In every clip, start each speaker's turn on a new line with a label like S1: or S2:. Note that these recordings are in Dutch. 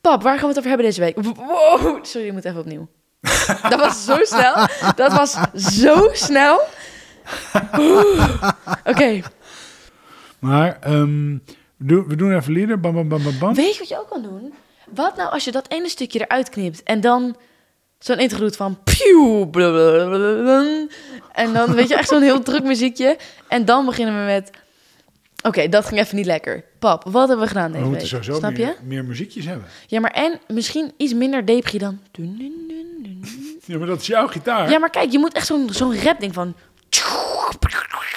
S1: Pap, waar gaan we het over hebben deze week? Wow, sorry, ik moet even opnieuw. Dat was zo snel. Dat was zo snel. Oeh. Oké,
S2: Maar ehm, we doen- we doen even leader. Bam, bam, bam, bam, bam.
S1: weet je wat je ook kan doen? Wat nou als je dat ene stukje eruit knipt en dan zo'n intro doet van... Pew, blablabla. en dan weet je echt zo'n heel druk muziekje. En dan beginnen we met... Oké, dat ging even niet lekker. Pap, wat hebben we gedaan
S2: We
S1: deze
S2: moeten
S1: week?
S2: sowieso
S1: Snap je?
S2: meer, meer muziekjes hebben.
S1: Ja, maar en misschien iets minder depri dan... dun, dun, dun, dun.
S2: Ja, maar dat is jouw gitaar.
S1: Ja, maar kijk, je moet echt zo'n zo'n rap ding van...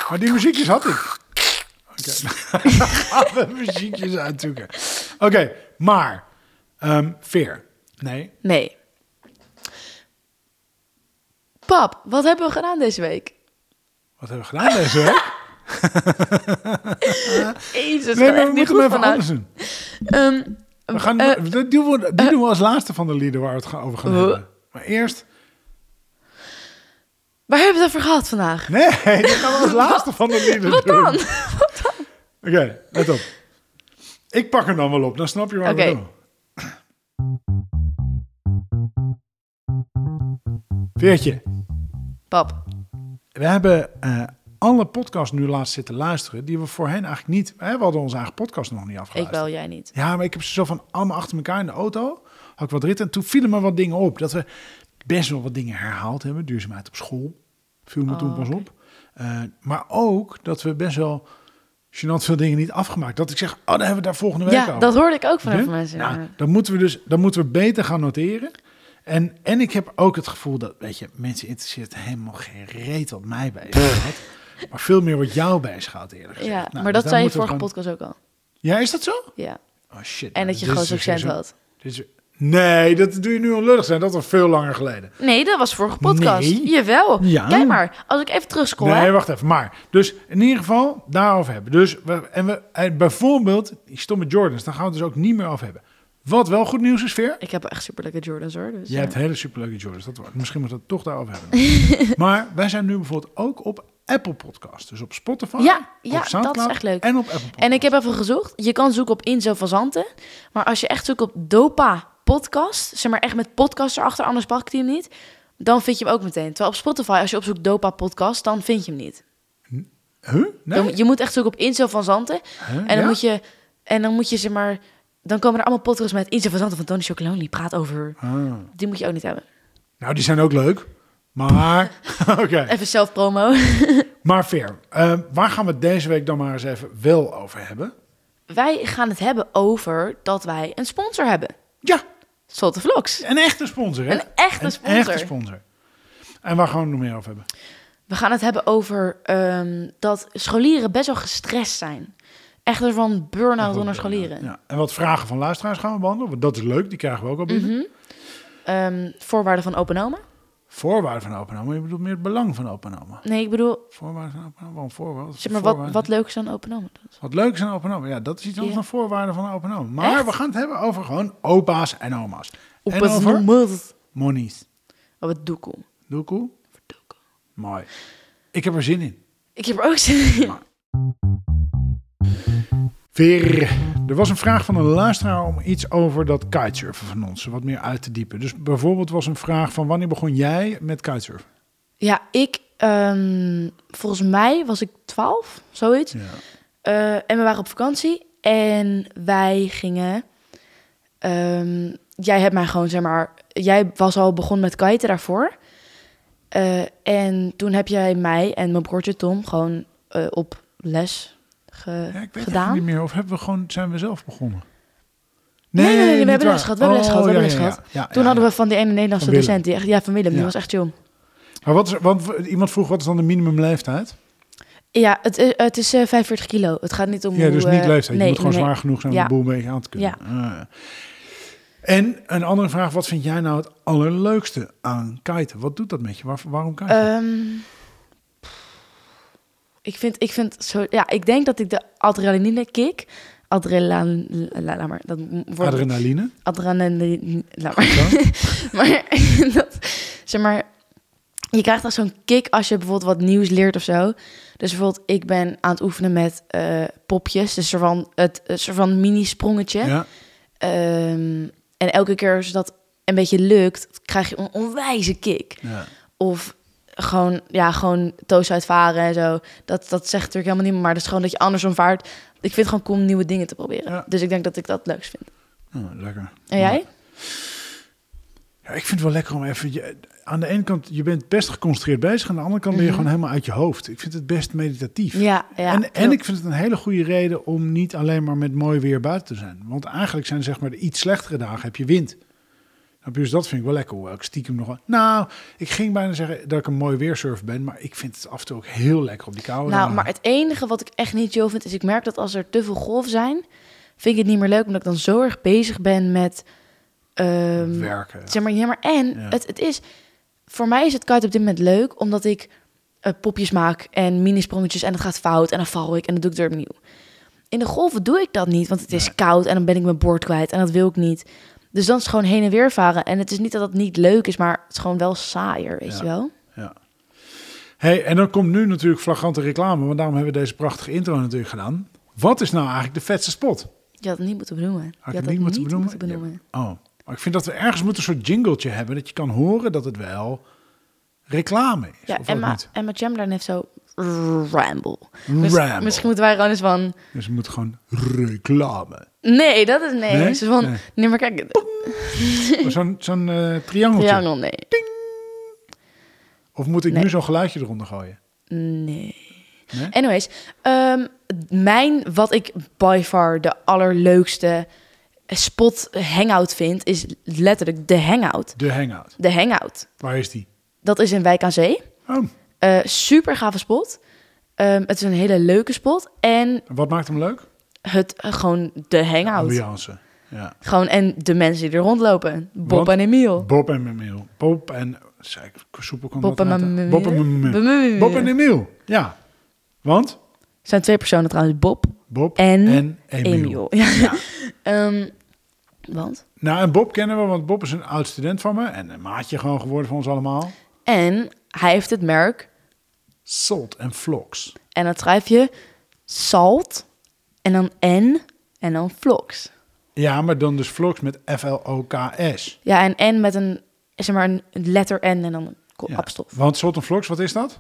S2: Maar die muziekjes had ik. Oké. Gaan we muziekjes uitzoeken. Oké, maar. ehm, veer. Nee.
S1: Nee. Pap, wat hebben we gedaan deze week?
S2: Wat hebben we gedaan deze week?
S1: Jezus, het
S2: Nee,
S1: gaat
S2: maar we
S1: echt niet
S2: moeten hem
S1: goed
S2: even
S1: vandaag.
S2: anders doen.
S1: Ehm,
S2: We gaan,
S1: eh,
S2: die doen we, die doen we als laatste van de lieden waar we het gaan- over gaan
S1: Eh.
S2: hebben. Maar eerst...
S1: waar hebben we het over gehad vandaag?
S2: Nee, dat gaan we als laatste van de lieden
S1: Wat
S2: doen.
S1: dan?
S2: Oké, let op. Ik pak hem dan wel op, dan snap je waar
S1: Oké.
S2: we doen. Veertje,
S1: Pap,
S2: we hebben eh, alle podcasts nu laatst zitten luisteren... die we voorheen eigenlijk niet... We hadden onze eigen podcast nog niet
S1: ik
S2: afgeluisterd.
S1: wel, jij niet.
S2: Ja, maar ik heb ze zo van allemaal achter elkaar in de auto. Had ik wat ritten. En toen vielen me wat dingen op. Dat we best wel wat dingen herhaald hebben. Duurzaamheid op school. Viel me toen
S1: Oh,
S2: pas op. Eh, maar ook dat we best wel gênant veel dingen niet afgemaakt. Dat ik zeg, oh, daar hebben we daar volgende week
S1: Ja,
S2: over.
S1: dat hoorde ik ook van
S2: Hè?
S1: even mensen.
S2: Nou, dan moeten we dus dan moeten we beter gaan noteren. En, en ik heb ook het gevoel dat, weet je, mensen interesseert helemaal geen reet wat mij bezighoudt. maar veel meer wat jou bezighoudt eerder gezegd.
S1: ja,
S2: Nou, dus
S1: maar dat
S2: daar
S1: zei je
S2: moeten we
S1: vorige
S2: gewoon-
S1: podcast ook al.
S2: Ja, is dat zo?
S1: Ja.
S2: Oh shit.
S1: En
S2: nou,
S1: dat je
S2: dit
S1: groot
S2: is dus
S1: accent
S2: weer zo-
S1: had.
S2: dit is- nee, dat doe je nu onlullig zijn. Dat was veel langer geleden.
S1: Nee, dat was vorige podcast.
S2: Nee.
S1: Jawel.
S2: Ja.
S1: Kijk maar, als ik even terugscroll,
S2: nee,
S1: hè.
S2: wacht even. Maar, dus in ieder geval daarover hebben. Dus we, en we, en bijvoorbeeld die stomme Jordans, daar gaan we het dus ook niet meer over hebben. Wat wel goed nieuws is, Veer.
S1: Ik heb echt superleuke Jordans, hoor. Dus,
S2: Je
S1: ja.
S2: hebt hele superleuke Jordans. Dat, wordt- misschien moeten we het toch daarover hebben. maar wij zijn nu bijvoorbeeld ook op Apple Podcasts. Dus op Spotify,
S1: Ja, ja,
S2: op
S1: dat is
S2: Soundcloud
S1: echt leuk.
S2: en op Apple Podcasts.
S1: En ik heb even gezocht. Je kan zoeken op Inzo van Zanten. Maar als je echt zoekt op Dopa podcast, zeg maar echt met podcast erachter, anders pak ik die hem niet, dan vind je hem ook meteen. Terwijl op Spotify, als je opzoekt Dopa podcast, dan vind je hem niet.
S2: Huh? Nee?
S1: Dan, je moet echt zoeken op Inzo van Zanten.
S2: Huh?
S1: En dan
S2: Ja?
S1: moet je, en dan moet je zeg maar, dan komen er allemaal podcasts met Inzo van Zanten van Tony Chocolonely praat over.
S2: Ah.
S1: Die moet je ook niet hebben.
S2: Nou, die zijn ook leuk. Maar, oké.
S1: Even zelf promo.
S2: Maar Veer, eh, waar gaan we het deze week dan maar eens even wel over hebben?
S1: Wij gaan het hebben over dat wij een sponsor hebben.
S2: Ja,
S1: Zotte Vlogs.
S2: een echte sponsor, hè?
S1: Een echte sponsor.
S2: echte sponsor. En waar gaan we het nog meer over hebben?
S1: We gaan het hebben over ehm, dat scholieren best wel gestrest zijn. Echt van burn-out onder scholieren.
S2: Ja. En wat vragen van luisteraars gaan we behandelen? Want dat is leuk, die krijgen we ook al binnen.
S1: Mhm. Ehm, voorwaarden van openomen?
S2: Voorwaarden van openname, je bedoelt meer het belang van openname.
S1: Nee, ik bedoel,
S2: Voorwaarden van openname, waarom voorwaarden?
S1: zeg maar, wat,
S2: Voorwaarden.
S1: wat leuk is aan openomen.
S2: Wat leuk is aan openname, ja, dat is iets anders
S1: Ja.
S2: dan voorwaarden van openname. Maar
S1: Echt?
S2: we gaan het hebben over gewoon opa's en oma's. en over
S1: Openomen.
S2: monies.
S1: Oh, wat doekoe.
S2: Doe cool?
S1: Verdoekoe.
S2: Mooi. Ik heb er zin in.
S1: Ik heb er ook zin in.
S2: Weer, er was een vraag van een luisteraar om iets over dat kitesurfen van ons wat meer uit te diepen. Dus bijvoorbeeld was een vraag van wanneer begon jij met kitesurfen?
S1: Ja, ik, ehm, volgens mij was ik 12, zoiets.
S2: Ja.
S1: Eh, en we waren op vakantie en wij gingen. ehm, jij hebt mij gewoon, zeg maar. Jij was al begonnen met kiten daarvoor. Eh, en toen heb jij mij en mijn broertje Tom gewoon eh, op les ge-
S2: ik weet
S1: gedaan.
S2: het niet meer. Of hebben we gewoon, zijn we zelf begonnen?
S1: Nee, nee, nee, we
S2: niet
S1: hebben
S2: waar.
S1: les gehad, we hebben les gehad, we
S2: ja,
S1: hebben les
S2: ja,
S1: gehad.
S2: ja, ja,
S1: Toen
S2: ja,
S1: hadden
S2: ja.
S1: we van die ene Nederlandse
S2: Van Willem.
S1: docent, die echt, ja, van Willem, die
S2: Ja.
S1: was echt jong.
S2: Maar wat is, want we- iemand vroeg, wat is dan de minimumleeftijd?
S1: Ja, het, eh, het is eh 45 kilo. Het gaat niet om.
S2: Ja,
S1: hoe,
S2: dus
S1: eh,
S2: niet leeftijd.
S1: nee,
S2: je moet gewoon
S1: nee, nee.
S2: zwaar genoeg zijn om
S1: Ja.
S2: de boel een beetje aan te kunnen. Ah. En een andere vraag, wat vind jij nou het allerleukste aan kiten? Wat doet dat met je? Waar- waarom kiten?
S1: Ehm, pff, ik vind, ik vind zo, ja, ik denk dat ik de adrenaline kick, adrenaline, la- laat maar, dat wordt
S2: Adrenaline?
S1: adrenaline, laat maar. maar dat, zeg maar, je krijgt echt zo'n kick als je bijvoorbeeld wat nieuws leert of zo. Dus bijvoorbeeld, ik ben aan het oefenen met eh, popjes, dus soort van het een soort van mini sprongetje.
S2: Ja.
S1: Ehm, En elke keer als dat een beetje lukt, krijg je een onwijze kick.
S2: Ja.
S1: Of gewoon, ja, gewoon toos uitvaren en zo. Dat, dat zegt natuurlijk helemaal niet, maar dat is gewoon dat je andersom vaart. Ik vind het gewoon cool om nieuwe dingen te proberen.
S2: Ja.
S1: Dus ik denk dat ik dat het leukst vind.
S2: Oh, lekker.
S1: En jij?
S2: Ja, ik vind het wel lekker om even... Je, aan de ene kant, je bent best geconcentreerd bezig. Aan de andere kant ben je
S1: Mhm.
S2: gewoon helemaal uit je hoofd. Ik vind het best meditatief.
S1: Ja, ja.
S2: en, en
S1: klopt.
S2: ik vind het een hele goede reden om niet alleen maar met mooi weer buiten te zijn. Want eigenlijk zijn zeg maar de iets slechtere dagen, heb je wind. Snap je? Dus dat vind ik wel lekker. Hoewel ik stiekem nog wel... Nou, ik ging bijna zeggen dat ik een mooi weersurf ben. Maar ik vind het af en toe ook heel lekker op die koude
S1: Nou,
S2: dagen.
S1: maar het enige wat ik echt niet chill vind, is ik merk dat als er te veel golf zijn, vind ik het niet meer leuk, omdat ik dan zo erg bezig ben met... ehm,
S2: Werken.
S1: Zeg maar, ja, maar en
S2: Ja.
S1: het, het is... Voor mij is het kite op dit moment leuk, omdat ik eh, popjes maak en mini-sprongetjes en het gaat fout en dan val ik en dan doe ik het weer opnieuw. In de golven doe ik dat niet, want het is
S2: Nee.
S1: koud en dan ben ik mijn boord kwijt en dat wil ik niet. Dus dan is het gewoon heen en weer varen. En het is niet dat dat niet leuk is, maar het is gewoon wel saaier, weet
S2: Ja.
S1: je wel?
S2: Ja. Hey, en dan komt nu natuurlijk flagrante reclame, want daarom hebben we deze prachtige intro natuurlijk gedaan. Wat is nou eigenlijk de vetste spot?
S1: Je had het niet moeten benoemen. Je
S2: Had
S1: had
S2: ik het
S1: dat
S2: niet moeten benoemen?
S1: benoemen.
S2: Oh, maar ik vind dat we ergens moeten een soort jingletje hebben, dat je kan horen dat het wel reclame is.
S1: Ja,
S2: of ook
S1: Emma,
S2: niet.
S1: Emma Chamberlain heeft zo ramble.
S2: Ramble.
S1: misschien moeten wij gewoon eens van...
S2: Dus we moeten gewoon reclame.
S1: Nee, dat is nee.
S2: Nee?
S1: Ze is van,
S2: Nee.
S1: nee, maar kijk,
S2: Maar Zo'n zo'n eh, triangeltje.
S1: triangel, nee.
S2: Of moet ik nu
S1: Nee.
S2: zo'n geluidje eronder gooien?
S1: Nee.
S2: Nee?
S1: Anyways, ehm, mijn, wat ik by far de allerleukste spot hangout vind, is letterlijk de hangout.
S2: De hangout.
S1: De hangout.
S2: Waar is die?
S1: Dat is in Wijk aan Zee.
S2: Oh,
S1: Eh, super gave spot. Ehm, het is een hele leuke spot. En
S2: en wat maakt hem leuk?
S1: het, eh, gewoon de hangout.
S2: Ambiance. Oh Ja.
S1: Gewoon, en de mensen die er rondlopen. Bob
S2: Want-
S1: en Emiel.
S2: Bob en Memiel. Bob en... Zei ik, soepel kon
S1: Bob
S2: dat
S1: en
S2: laten.
S1: Emiel.
S2: Bob en Memiel.
S1: Emiel.
S2: Bob en Emiel, ja. Want
S1: Er zijn twee personen trouwens, Bob
S2: Bob
S1: en,
S2: en Emiel.
S1: Emiel. Ja.
S2: Ja.
S1: Ehm, want?
S2: Nou, en Bob kennen we, want Bob is een oud student van me. En een maatje gewoon geworden van ons allemaal.
S1: En hij heeft het merk
S2: Salt en Vlogs.
S1: En dan schrijf je salt en dan n en dan vlogs.
S2: Ja, maar dan dus Vlogs met F-L-O-K-S.
S1: Ja, en n met een, zeg maar, een letter n en dan een ko-
S2: Ja.
S1: apostrof.
S2: Want Salt en Vlogs, wat is dat?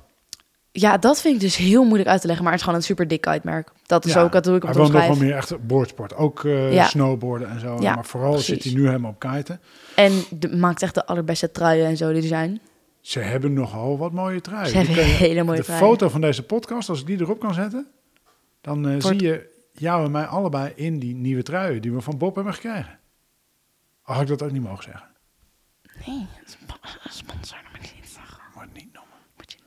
S1: Ja, dat vind ik dus heel moeilijk uit te leggen, maar het is gewoon een super dik kitemerk. Dat is ook dat doe ik op het
S2: Hij woont nog wel
S1: omschrijf.
S2: meer echt boordsport. Ook eh,
S1: Ja.
S2: snowboarden en zo.
S1: Ja,
S2: maar vooral zit
S1: precies.
S2: hij nu helemaal op kiten.
S1: En de, maakt echt de allerbeste truien en zo die er zijn.
S2: Ze hebben nogal wat mooie truien.
S1: Ze hebben
S2: Die kun je-
S1: hele mooie
S2: De
S1: truien.
S2: foto van deze podcast, als ik die erop kan zetten... dan eh, zie
S1: Wordt-
S2: je jou en mij allebei in die nieuwe truien... die we van Bob hebben gekregen. Al had ik dat ook niet mogen zeggen.
S1: Nee, sp- sponsor dat moet je niet zeggen.
S2: Maar niet noemen.
S1: Moet je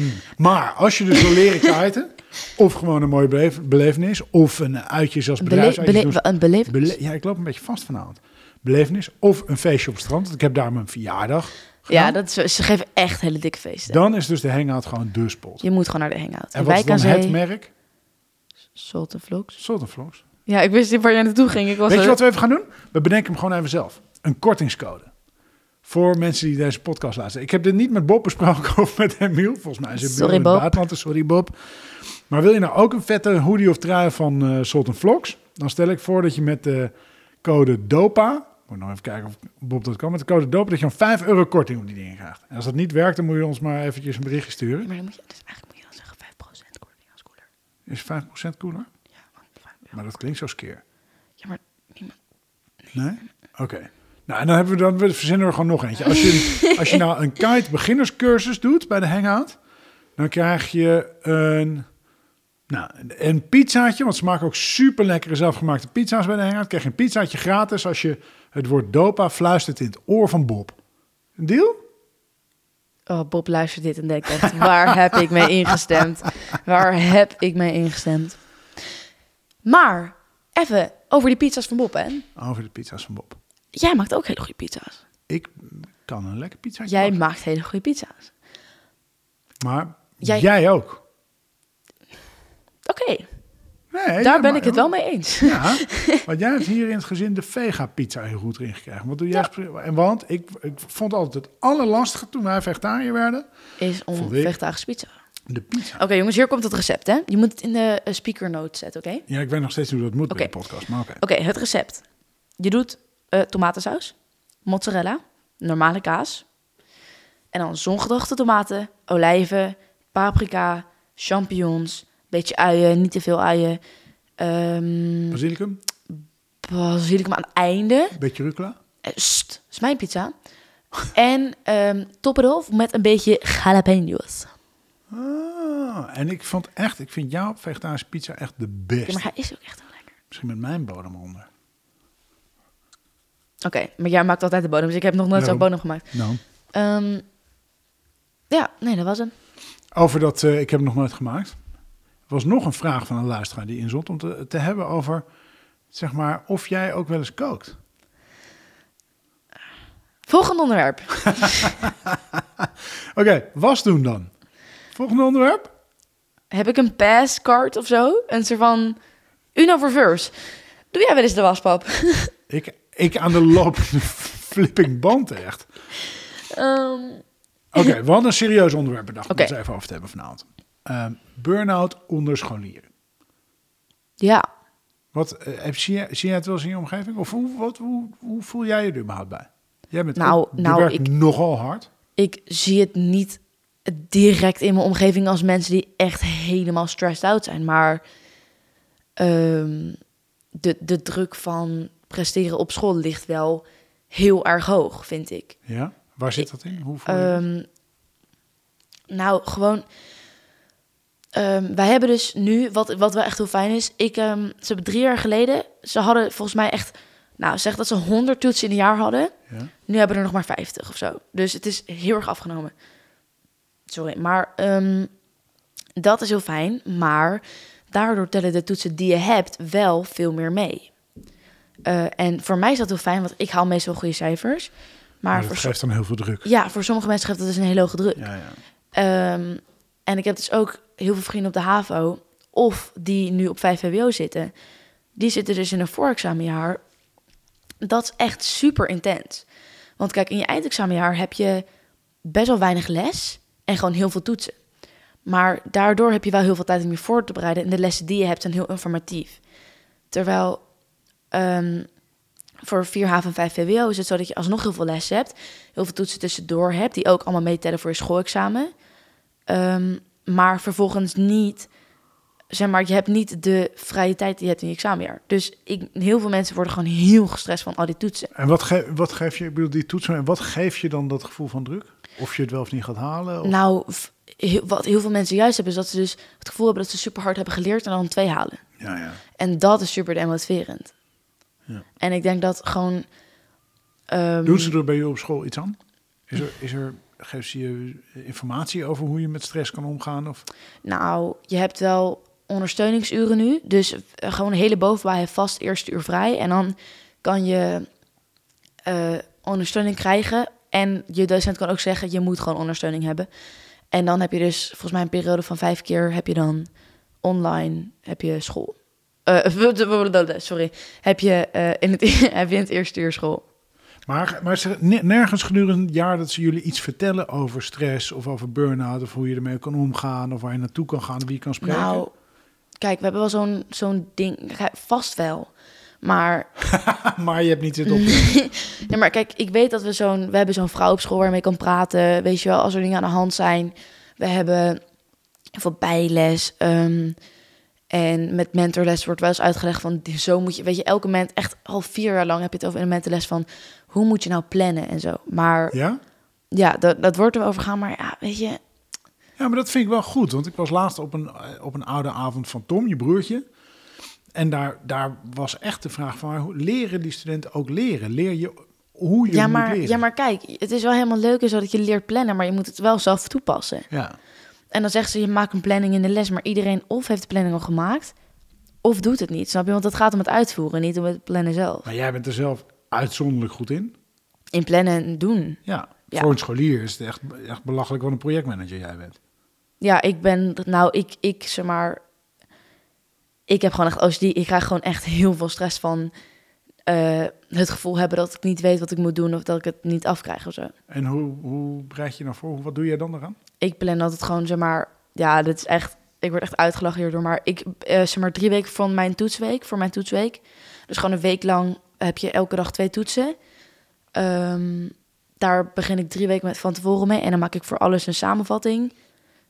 S1: niet.
S2: Maar als je dus wil leren kiten... of gewoon een mooie beleef- belevenis... of een uitje zelfs
S1: Een, bele-
S2: bedrijfsuitje...
S1: bele-
S2: doen.
S1: een beleving.
S2: Bele- ja, ik loop een beetje vast vanavond. Belevenis of een feestje op het strand. want Ik heb daar mijn verjaardag gedaan.
S1: ja, dat is, ze geven echt hele dikke feesten.
S2: Dan is dus de hangout gewoon de spot.
S1: je moet gewoon naar de hangout.
S2: en wat is
S1: Wijk aan
S2: dan het
S1: zee,
S2: merk?
S1: salt en vlogs.
S2: Soldenvlogs.
S1: Ja, ik wist niet waar jij naartoe ging. Ik was
S2: Weet je
S1: er-
S2: wat we even gaan doen? We bedenken hem gewoon even zelf. Een kortingscode. Voor mensen die deze podcast luisteren. Ik heb dit niet met Bob besproken of met Emiel. Volgens mij is het
S1: Sorry,
S2: in het
S1: Bob.
S2: buitenland. dus Sorry Bob. Maar wil je nou ook een vette hoodie of trui van eh Salt and Vlogs? Dan stel ik voor dat je met de code DOPA... Moet nog even kijken of Bob dat kan. Met de code DOPA dat je een 5 euro korting op die dingen krijgt. En als dat niet werkt, dan moet je ons maar eventjes een berichtje
S1: Ja,
S2: sturen.
S1: Maar dan moet je, dus eigenlijk moet je dan zeggen 5% korting als cooler.
S2: Is 5% cooler?
S1: Ja, want, vijf-
S2: Maar dat klinkt zo skeer.
S1: ja, maar niemand.
S2: Nee? Oké. Nou, en dan, hebben we, dan we- verzinnen we gewoon nog eentje. Als je, als je nou een kite beginnerscursus doet bij de Hangout, dan krijg je een, nou, een pizzaatje, want ze maken ook super lekkere zelfgemaakte pizza's bij de Hangout. Krijg je een pizzaatje gratis als je het woord dopa fluistert in het oor van Bob. Een deal?
S1: Oh, Bob luistert dit en denkt echt, waar heb ik mee ingestemd? Waar heb ik mee ingestemd? Maar, even over die pizza's van Bob, hè.
S2: Over de pizza's van Bob.
S1: Jij maakt ook hele goede pizza's.
S2: Ik kan een lekker pizzaatje
S1: Jij
S2: bakken.
S1: maakt hele goede pizza's.
S2: Maar jij,
S1: Jij-
S2: ook.
S1: Oké,
S2: Nee,
S1: daar ben ik het wel mee eens.
S2: Ja, want jij hebt hier in het gezin de vega-pizza heel goed erin gekregen. Wat doe jij? spe- En want ik, ik vond altijd het allerlastige toen wij vegetariër werden,
S1: Is om
S2: Volgende week.
S1: vegetarische pizza.
S2: de pizza.
S1: Oké, jongens, hier komt het recept, hè. Je moet het in de eh, speaker note zetten, oké?
S2: Ja, ik weet nog steeds hoe dat moet bij
S1: Oké.
S2: de podcast, maar oké.
S1: Oké, het recept. Je doet eh, tomatensaus, mozzarella, normale kaas. En dan zongedachte tomaten, olijven, paprika, champignons, beetje uien, niet te veel uien. Ehm
S2: Basilicum,
S1: basilicum aan het einde.
S2: beetje rucola.
S1: Eh, Sst, is mijn pizza. en ehm top it off met een beetje jalapenos.
S2: Ah, en ik vond echt, ik vind jouw vegetarische pizza echt de
S1: Ja,
S2: best.
S1: maar hij is ook echt heel lekker.
S2: Misschien met mijn bodem onder.
S1: Oké, maar jij maakt altijd de bodem, dus ik heb nog nooit zo'n bodem
S2: Daarom.
S1: gemaakt.
S2: Nou,
S1: Ehm, ja, nee, dat was hem.
S2: over dat, eh, ik heb het nog nooit gemaakt. Er was nog een vraag van een luisteraar die inzond om te, te hebben over, zeg maar, of jij ook wel eens kookt.
S1: Volgende onderwerp.
S2: Oké, was doen dan. Volgende onderwerp.
S1: Heb ik een passcard of zo? Een soort van Uno reverse. Doe jij wel eens de waspap?
S2: Ik, ik aan de lopende flipping band echt.
S1: Ehm,
S2: Oké, we hadden een serieus onderwerp bedacht
S1: Oké.
S2: om het eens even over te hebben vanavond. Ehm burn-out onder scholieren.
S1: ja,
S2: Wat, eh, heb- zie, jij, zie jij het wel eens in je omgeving? Of hoe, wat, hoe, hoe voel jij je er überhaupt bij? Jij bent
S1: Nou,
S2: ook- je
S1: nou,
S2: werkt
S1: ik-
S2: nogal hard.
S1: ik zie het niet direct in mijn omgeving als mensen die echt helemaal stressed out zijn. Maar ehm, de, de druk van presteren op school ligt wel heel erg hoog, vind ik.
S2: Ja? Waar zit dat in? Hoe voel je dat?
S1: Ehm, nou, gewoon. ehm, wij hebben dus nu, wat, wat wel echt heel fijn is. Ik, ehm, ze hebben drie jaar geleden. Ze hadden volgens mij echt. Nou, zeg dat ze 100 toetsen in een jaar hadden.
S2: Ja?
S1: Nu hebben er nog maar 50 of zo. Dus het is heel erg afgenomen. Sorry, maar ehm, dat is heel fijn. Maar daardoor tellen de toetsen die je hebt wel veel meer mee. Eh, en voor mij is dat heel fijn, want ik haal meestal goede cijfers. Maar,
S2: Maar
S1: voor
S2: dat
S1: sommige
S2: geeft dan heel veel druk.
S1: ja, voor sommige mensen geeft dat dus een hele hoge druk.
S2: Ja, ja.
S1: Ehm, en ik heb dus ook heel veel vrienden op de HAVO... of die nu op 5 VWO zitten. Die zitten dus in een voorexamenjaar. Dat is echt super intens. Want kijk, in je eindexamenjaar heb je best wel weinig les... en gewoon heel veel toetsen. Maar daardoor heb je wel heel veel tijd om je voor te bereiden... en de lessen die je hebt zijn heel informatief. Terwijl ehm, voor 4 HAVO en 5 VWO is het zo dat je alsnog heel veel lessen hebt... heel veel toetsen tussendoor hebt... die ook allemaal meetellen voor je schoolexamen... Ehm, maar vervolgens niet, zeg maar, je hebt niet de vrije tijd die je hebt in je examenjaar. Dus ik, heel veel mensen worden gewoon heel gestrest van al die toetsen.
S2: En wat, ge wat geef je, ik bedoel die toetsen, en wat geef je dan dat gevoel van druk? Of je het wel of niet gaat halen? Of...
S1: Nou, v- heel- wat heel veel mensen juist hebben, is dat ze dus het gevoel hebben dat ze super hard hebben geleerd en dan een twee halen.
S2: Ja, ja.
S1: En dat is super demotiverend.
S2: Ja.
S1: En ik denk dat gewoon. ehm,
S2: Doen ze er bij jou op school iets aan? Is er, is er, geeft ze je informatie over hoe je met stress kan omgaan? Of...
S1: Nou, je hebt wel ondersteuningsuren nu. Dus eh, gewoon een hele bovenbij vast eerste uur vrij. En dan kan je eh, ondersteuning krijgen. En je docent kan ook zeggen, je moet gewoon ondersteuning hebben. En dan heb je dus volgens mij een periode van vijf keer heb je dan online heb je school. Eh, sorry, heb je, eh, in het, heb je in het eerste uur school.
S2: Maar, maar is er ne- nergens gedurende het jaar dat ze jullie iets vertellen over stress of over burn-out of hoe je ermee kan omgaan of waar je naartoe kan gaan, wie je kan spreken?
S1: Nou, kijk, we hebben wel zo'n zo'n ding, vast wel. Maar
S2: maar je hebt niet het op.
S1: Ja, maar kijk, ik weet dat we zo'n... We hebben zo'n vrouw op school waarmee ik kan praten. Weet je wel, als er dingen aan de hand zijn. We hebben veel bijles. ehm, en met mentorles wordt wel eens uitgelegd van... die- Zo moet je... Weet je, elke moment... Echt al vier jaar lang heb je het over in een mentorles van... Hoe moet je nou plannen en zo. Maar
S2: Ja?
S1: ja, dat, dat wordt er wel over gaan. Maar ja, weet je...
S2: Ja, maar dat vind ik wel goed. Want ik was laatst op een, eh, op een oude avond van Tom, je broertje. En daar, daar was echt de vraag van, maar hoe- leren die studenten ook leren? Leer je hoe je
S1: Ja
S2: moet
S1: maar,
S2: leren?
S1: ja, maar kijk. Het is wel helemaal leuk en zo dat je leert plannen. Maar je moet het wel zelf toepassen.
S2: Ja.
S1: En dan zegt ze, je maakt een planning in de les, maar iedereen of heeft de planning al gemaakt, of doet het niet, snap je? Want het gaat om het uitvoeren, niet om het plannen zelf.
S2: Maar jij bent er zelf uitzonderlijk goed in.
S1: In plannen en doen.
S2: Ja.
S1: Ja.
S2: Voor een scholier is het echt, echt belachelijk wat een projectmanager jij bent.
S1: Ja, ik ben, nou, ik, ik zeg maar, ik heb gewoon echt OCD, ik krijg gewoon echt heel veel stress van eh, het gevoel hebben dat ik niet weet wat ik moet doen of dat ik het niet afkrijg of zo.
S2: En hoe, hoe bereid je je nou voor? Wat doe jij dan eraan?
S1: ik plan altijd gewoon, zeg maar, ja, dit is echt, ik word echt uitgelachen hierdoor, maar ik, eh, zeg maar, drie weken van mijn toetsweek, voor mijn toetsweek, dus gewoon een week lang heb je elke dag twee toetsen. Ehm, daar begin ik drie weken met van tevoren mee. En dan maak ik voor alles een samenvatting.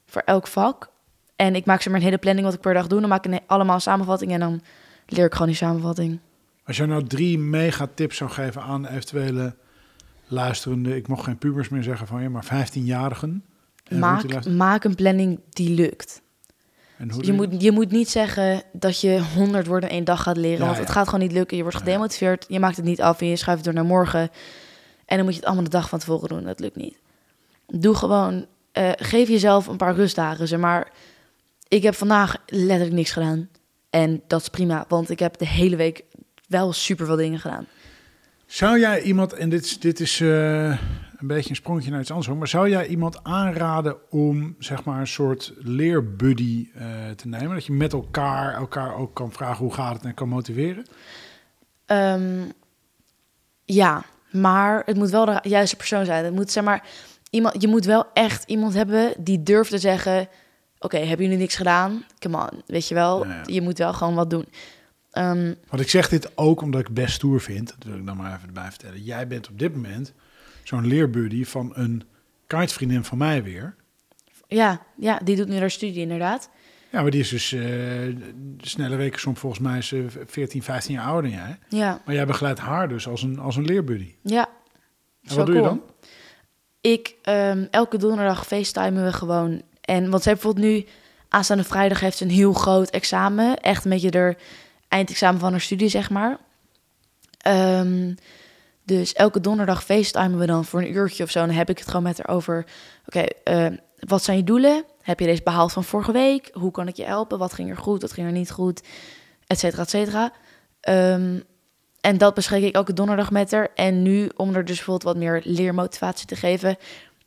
S1: Voor elk vak. En ik maak ze maar een hele planning wat ik per dag doe. Dan maak ik een- allemaal een samenvatting. En dan leer ik gewoon die samenvatting.
S2: Als jij nou drie mega tips zou geven aan eventuele luisterende, ik mocht geen pubers meer zeggen van je, maar 15-jarigen. En hoe die
S1: Maak,
S2: luisteren-
S1: maak een planning die lukt.
S2: en hoe
S1: Je
S2: die-
S1: moet, je moet niet zeggen dat je 100 woorden in één dag gaat leren.
S2: Ja,
S1: want het
S2: ja.
S1: gaat gewoon niet lukken. Je wordt
S2: Ja.
S1: gedemotiveerd. Je maakt het niet af en je schuift het door naar morgen. En dan moet je het allemaal de dag van tevoren doen. Dat lukt niet. Doe gewoon. eh, geef jezelf een paar rustdagen. Zeg maar ik heb vandaag letterlijk niks gedaan. En dat is prima. Want ik heb de hele week wel super veel dingen gedaan.
S2: Zou jij iemand, en dit, is- dit is eh, een beetje een sprongje naar iets anders, hoor, maar zou jij iemand aanraden om zeg maar een soort leerbuddy eh, te nemen? Dat je met elkaar elkaar ook kan vragen hoe gaat het en kan motiveren?
S1: Ehm, ja, maar het moet wel de ra- juiste persoon zijn. Het moet, zeg maar, iemand, je moet wel echt iemand hebben die durft te zeggen... Oké, hebben jullie niks gedaan? Come on, weet je wel.
S2: Ja, ja.
S1: Je moet wel gewoon wat doen. Ehm,
S2: Want ik zeg dit ook omdat ik het best stoer vind. Dat wil ik dan maar even erbij vertellen. Jij bent op dit moment zo'n leerbuddy van een kitevriendin van mij weer.
S1: ja, ja, die doet nu haar studie inderdaad.
S2: Ja, maar die is dus eh, de snelle rekensom volgens mij is ze 14, 15 jaar ouder dan jij.
S1: Ja,
S2: Maar jij begeleidt haar dus als een, als een leerbuddy.
S1: ja.
S2: En wat doe je dan?
S1: Ik, ehm, elke donderdag facetimen we gewoon. En want zij bijvoorbeeld nu, aanstaande vrijdag heeft ze een heel groot examen. Echt een beetje haar eindexamen van haar studie, zeg maar. Ehm, dus elke donderdag facetimen we dan voor een uurtje of zo. En dan heb ik het gewoon met haar over... Oké, ehm, wat zijn je doelen? Heb je deze behaald van vorige week? Hoe kan ik je helpen? Wat ging er goed? Wat ging er niet goed? Et cetera, et cetera. Ehm, en dat bespreek ik elke donderdag met haar. En nu, om er dus bijvoorbeeld wat meer leermotivatie te geven,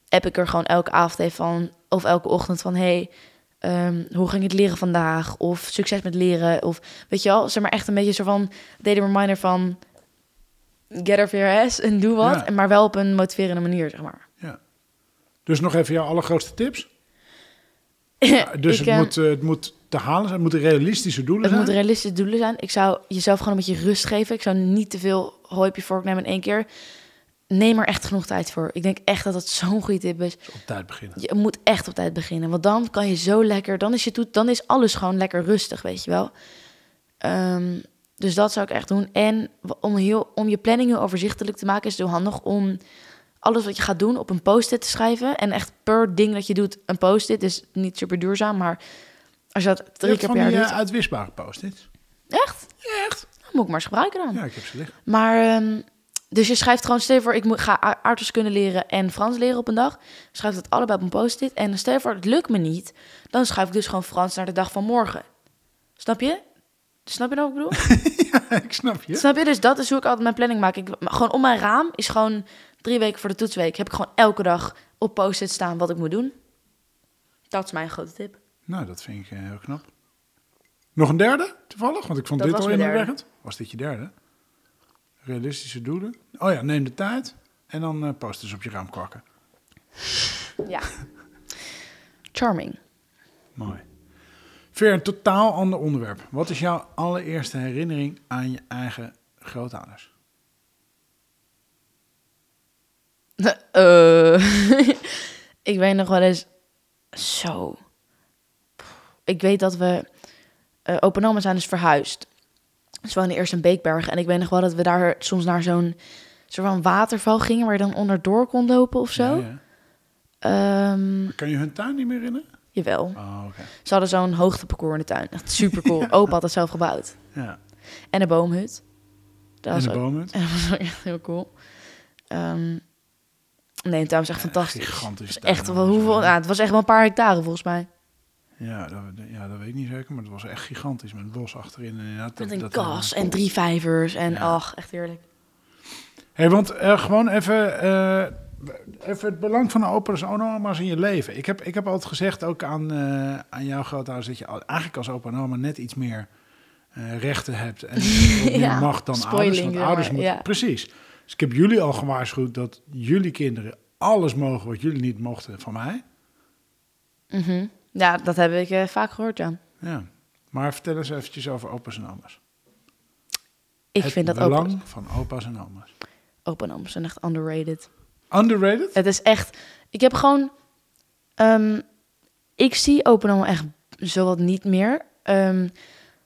S1: heb ik er gewoon elke avond even van, of elke ochtend van, hey, ehm, hoe ging het leren vandaag? Of succes met leren. Of weet je wel, zeg maar echt een beetje zo van, daily reminder van, get off your ass en doe wat.
S2: Ja.
S1: en Maar wel op een motiverende manier, zeg maar.
S2: Ja. Dus nog even jouw allergrootste tips. Ja,
S1: Ik,
S2: dus het,
S1: eh,
S2: moet, eh, het moet te halen zijn, het moeten realistische doelen
S1: Het
S2: zijn.
S1: moet realistische doelen zijn. Ik zou jezelf gewoon een beetje rust geven. Ik zou niet te veel hooi op je vork nemen in één keer. Neem er echt genoeg tijd voor. Ik denk echt dat dat zo'n goede tip is.
S2: Dus op tijd beginnen.
S1: Je moet echt op tijd beginnen. Want dan kan je zo lekker. Dan is, je toet, dan is alles gewoon lekker rustig, weet je wel. Ehm, dus dat zou ik echt doen. En w- om, heel, om je planning heel overzichtelijk te maken, is het heel handig om alles wat je gaat doen op een post-it te schrijven. En echt per ding dat je doet, een post-it. Dus niet super duurzaam, maar als je dat
S2: Je
S1: drie
S2: hebt
S1: keer
S2: van
S1: per
S2: die
S1: jaar
S2: eh,
S1: doet.
S2: uitwisbare post-its.
S1: Echt?
S2: Ja, echt?
S1: Dan moet ik maar eens gebruiken dan.
S2: Ja, ik heb ze liggen.
S1: Maar, ehm, dus je schrijft gewoon, stel je voor, ik moet, ga a- aardrijkskunde leren en Frans leren op een dag. Schrijf dat allebei op een post-it. En stel je voor, het lukt me niet. Dan schrijf ik dus gewoon Frans naar de dag van morgen. Snap je? Snap je nou wat ik bedoel?
S2: ik snap je.
S1: Snap je? Dus dat is hoe ik altijd mijn planning maak. Ik, gewoon om mijn raam is gewoon drie weken voor de toetsweek. Heb ik gewoon elke dag op post-it staan wat ik moet doen. Dat is mijn grote tip.
S2: Nou, dat vind ik eh, heel knap. Nog een derde, toevallig? Want ik vond
S1: Dat
S2: dit
S1: was
S2: al
S1: mijn
S2: indrukwekkend. Was dit je derde? Realistische doelen. Oh ja, neem de tijd en dan eh posters op je raam kwakken.
S1: Ja. Charming.
S2: Mooi. Veer, een totaal ander onderwerp. Wat is jouw allereerste herinnering aan je eigen grootouders?
S1: Eh, ik weet nog wel eens. Zo. Ik weet dat we. eh open oma zijn is verhuisd. Ze woonden eerst in Beekberg. En ik weet nog wel dat we daar soms naar zo'n. soort van waterval gingen. waar je dan onderdoor kon lopen of zo.
S2: Ja, ja.
S1: Ehm,
S2: Kan je hun tuin niet meer herinneren?
S1: jawel.
S2: Oh, oké.
S1: Ze hadden zo'n hoogteparcours in de tuin. Echt super cool. Opa had het zelf gebouwd.
S2: Ja.
S1: En een boomhut. Dat
S2: En
S1: was
S2: de
S1: ook
S2: bomen.
S1: En dat was ook echt heel cool. Ehm, nee, het tuin was echt fantastisch.
S2: gigantisch
S1: Het was
S2: tuin,
S1: echt
S2: man.
S1: wel hoeveel. Ja, het was echt wel een paar hectare volgens mij.
S2: Ja dat, ja, dat weet ik niet zeker, maar het was echt gigantisch. Met bos achterin en inderdaad.
S1: Met
S2: dat-
S1: een
S2: dat-
S1: kas en drie vijvers en
S2: Ja.
S1: ach, echt heerlijk.
S2: Hé, want eh, gewoon even, eh, even het belang van de opa's en oma's in je leven. Ik heb, ik heb altijd gezegd, ook aan, eh, aan jouw grootouders, dat je al- eigenlijk als opa en oma net iets meer eh, rechten hebt en wat meer
S1: Ja,
S2: mag dan
S1: spoiling,
S2: ouders. Want
S1: zeg maar,
S2: ouders moeten,
S1: ja.
S2: precies. Dus ik heb jullie al gewaarschuwd dat jullie kinderen alles mogen wat jullie niet mochten van mij.
S1: Mhm. Ja, dat heb ik eh, vaak gehoord, ja.
S2: Ja. Maar vertel eens eventjes over opa's en oma's.
S1: Ik
S2: Het
S1: vind dat
S2: belang
S1: open,
S2: van opa's en oma's.
S1: open arms zijn echt underrated.
S2: Underrated?
S1: Het is echt... Ik heb gewoon... ehm, ik zie open allemaal echt zowat niet meer. ehm,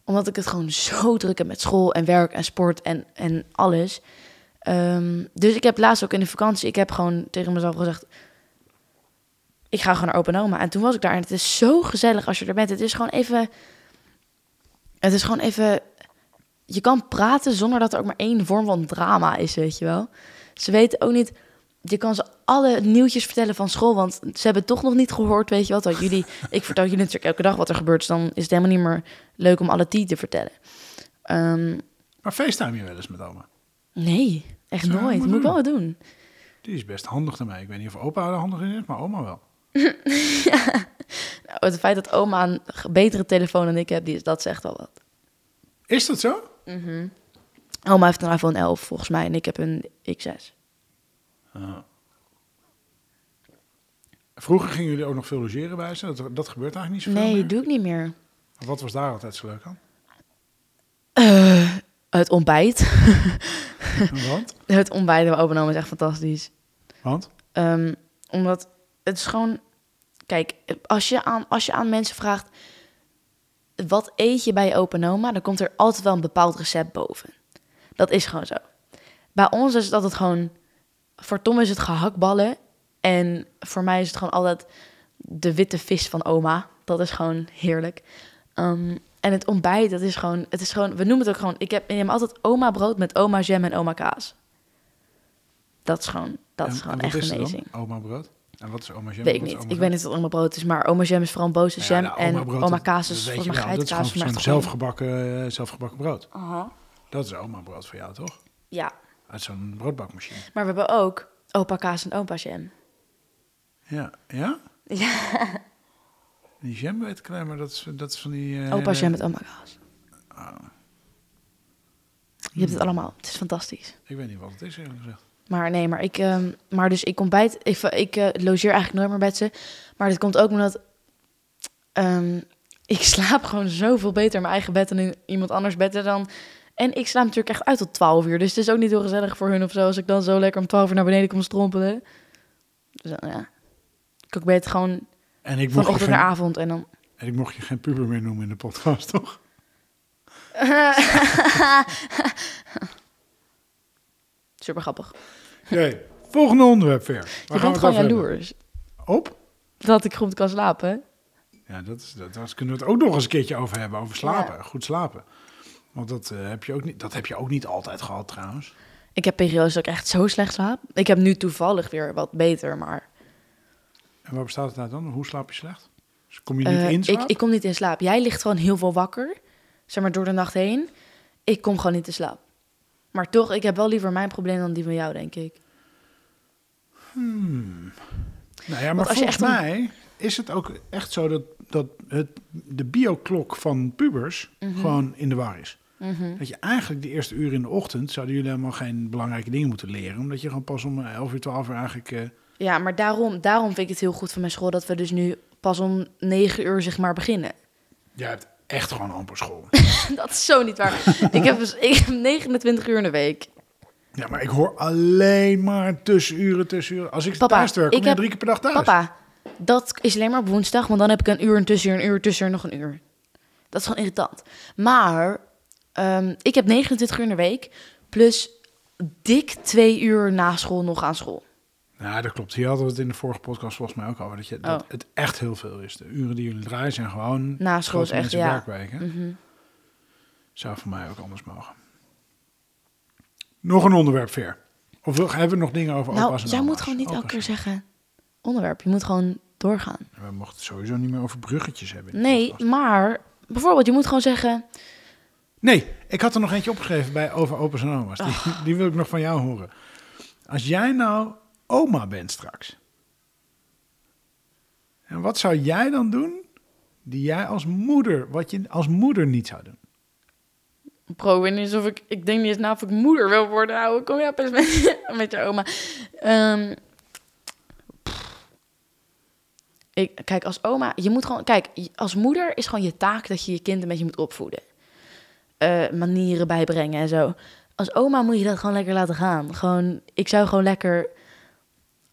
S1: omdat ik het gewoon zo druk heb met school en werk en sport en, en alles. Ehm, dus ik heb laatst ook in de vakantie... Ik heb gewoon tegen mezelf gezegd... Ik ga gewoon naar open oma. En toen was ik daar. En het is zo gezellig als je er bent. Het is gewoon even... Het is gewoon even... Je kan praten zonder dat er ook maar één vorm van drama is, weet je wel. Ze weten ook niet je kan ze alle nieuwtjes vertellen van school, want ze hebben het toch nog niet gehoord, weet je wat? Dat jullie, ik vertel jullie natuurlijk elke dag wat er gebeurt, dus dan is het helemaal niet meer leuk om alle tien te vertellen. Ehm,
S2: Maar FaceTime je wel eens met oma?
S1: nee, echt
S2: Zou je
S1: nooit.
S2: maar
S1: Moet ik
S2: doen.
S1: wel doen.
S2: Die is best handig daarmee. Ik weet niet of opa er handig in is, maar oma wel.
S1: Nou, het feit dat oma een ge- betere telefoon dan ik heb, die, is- dat zegt al wat.
S2: Is dat zo?
S1: Oma heeft een iPhone 11 volgens mij en ik heb een X6.
S2: Vroeger gingen jullie ook nog veel logeren bij ze. Dat, dat gebeurt eigenlijk niet zoveel
S1: Nee,
S2: meer.
S1: doe ik niet meer.
S2: Wat was daar altijd zo leuk aan?
S1: Het ontbijt.
S2: Want?
S1: Het ontbijt bij opa en oma is echt fantastisch.
S2: Want?
S1: Ehm, omdat het is gewoon. Kijk, als je, aan, als je aan mensen vraagt. wat eet je bij je opa en oma? dan komt er altijd wel een bepaald recept boven. Dat is gewoon zo. Bij ons is het altijd gewoon. Voor Tom is het gehaktballen. En voor mij is het gewoon altijd de witte vis van oma. Dat is gewoon heerlijk. Ehm, en het ontbijt, dat is gewoon, het is gewoon. We noemen het ook gewoon. Ik heb ik neem altijd oma brood met oma jam en oma kaas. Dat is gewoon, dat
S2: En-
S1: is gewoon
S2: en wat
S1: echt
S2: is er dan?
S1: amazing.
S2: Oma brood? En wat is oma jam?
S1: Weet ik
S2: Wat is
S1: niet.
S2: oma
S1: Ik
S2: jam?
S1: weet niet wat oma brood is, maar oma jam is vooral een boze
S2: Nou
S1: jam.
S2: ja,
S1: en
S2: brood,
S1: oma
S2: dat-
S1: kaas
S2: dat
S1: is
S2: weet
S1: volgens
S2: je
S1: mij
S2: wel. Dat is
S1: geitenkaas.
S2: gewoon
S1: maar
S2: zo'n
S1: echt gewoon-
S2: zelfgebakken, eh, zelfgebakken brood.
S1: Aha.
S2: Dat is oma brood voor jou, toch?
S1: Ja,
S2: Uit zo'n broodbakmachine.
S1: maar we hebben ook opa kaas en opa jam.
S2: Ja. Ja? Die jam weet ik alleen, maar dat is, dat is van die... eh,
S1: Opa jam met oma kaas.
S2: Ah.
S1: Je hebt het allemaal. Het is fantastisch.
S2: Ik weet niet wat het is, eerlijk gezegd.
S1: Maar nee, maar ik, ehm, maar dus ik ontbijt, ik, ik eh, logeer eigenlijk nooit meer bij ze. Maar dat komt ook omdat ehm, ik slaap gewoon zoveel beter in mijn eigen bed dan in iemand anders bed En dan. En ik slaap natuurlijk echt uit tot 12 uur. Dus het is ook niet heel gezellig voor hun of zo. Als ik dan zo lekker om 12 uur naar beneden kom strompelen. Dus dan, ja. Ik ben het gewoon
S2: En ik,
S1: van
S2: mocht je
S1: ochtend naar
S2: geen,
S1: avond en dan.
S2: en ik mocht je geen puber meer noemen in de podcast, toch?
S1: Super grappig.
S2: Oké, volgende onderwerp weer. Waar gaan
S1: Je
S2: we het
S1: bent gewoon
S2: over hebben?
S1: jaloers.
S2: Op?
S1: Dat ik goed kan slapen.
S2: Ja, dat, is, dat, daar kunnen we het ook nog eens een keertje over hebben. Over slapen,
S1: Ja.
S2: goed slapen. Want dat, eh, heb je ook niet, dat heb je ook niet altijd gehad, trouwens.
S1: Ik heb periodes dat ik echt zo slecht slaap. Ik heb nu toevallig weer wat beter, maar.
S2: En waar bestaat het uit dan? Hoe slaap je slecht? Dus kom je niet
S1: Eh,
S2: in slaap?
S1: Ik, ik kom niet in slaap. Jij ligt gewoon heel veel wakker, zeg maar door de nacht heen. Ik kom gewoon niet in slaap. Maar toch, ik heb wel liever mijn probleem dan die van jou, denk ik.
S2: Nou ja, maar
S1: Want als je
S2: volgens
S1: echt
S2: mij is het ook echt zo dat, dat het, de bioklok van pubers
S1: Mhm.
S2: gewoon in de war is. Dat je eigenlijk de eerste uur in de ochtend zouden jullie helemaal geen belangrijke dingen moeten leren. Omdat je gewoon pas om eh, 11 uur, 12 uur eigenlijk... eh,
S1: Ja, maar daarom, daarom vind ik het heel goed van mijn school dat we dus nu pas om negen uur zeg maar beginnen.
S2: jij hebt echt gewoon amper school.
S1: Dat is zo niet waar. ik, heb, dus- ik heb 29 uur in de week.
S2: ja, maar ik hoor alleen maar tussenuren, tussenuren. Als ik
S1: Papa,
S2: thuis werk, kom
S1: ik
S2: je
S1: heb-
S2: drie keer per dag thuis.
S1: Papa, dat is alleen maar op woensdag, want dan heb ik een uur, een tussenuur, een uur, tussenuur, nog een uur. Dat is gewoon irritant. Maar ehm, ik heb 29 uur in de week, plus dik twee uur na school nog aan school.
S2: Ja, dat klopt. Hier hadden we het in de vorige podcast volgens mij ook over. Dat, je, dat
S1: Oh.
S2: het echt heel veel is. De uren die jullie draaien zijn gewoon...
S1: Na school is
S2: grote
S1: echt,
S2: mensen
S1: ja. Mhm.
S2: werkweken. Zou voor mij ook anders mogen. Nog een onderwerp, Veer. Of wil- hebben we nog dingen over
S1: nou,
S2: opa's en
S1: jij
S2: oma's?
S1: moet gewoon niet
S2: Opa's.
S1: elke keer zeggen onderwerp. Je moet gewoon doorgaan.
S2: We mochten het sowieso niet meer over bruggetjes hebben. in de
S1: Nee,
S2: podcast.
S1: maar bijvoorbeeld, je moet gewoon zeggen...
S2: Nee, ik had er nog eentje opgeschreven bij over opa's en oma's. Die,
S1: Ah.
S2: die wil ik nog van jou horen. Als jij nou oma bent straks. En wat zou jij dan doen die jij als moeder, wat je als moeder niet zou doen?
S1: Pro, en alsof ik, ik denk niet eens na of ik moeder wil worden. oh Ouwe, kom je op eens met, je- met je oma. Ehm, pff. ik, kijk, als oma, je moet gewoon, kijk, je- als moeder is gewoon je taak dat je je kind een beetje moet opvoeden. eh, manieren bijbrengen en zo. Als oma moet je dat gewoon lekker laten gaan. Gewoon, ik zou gewoon lekker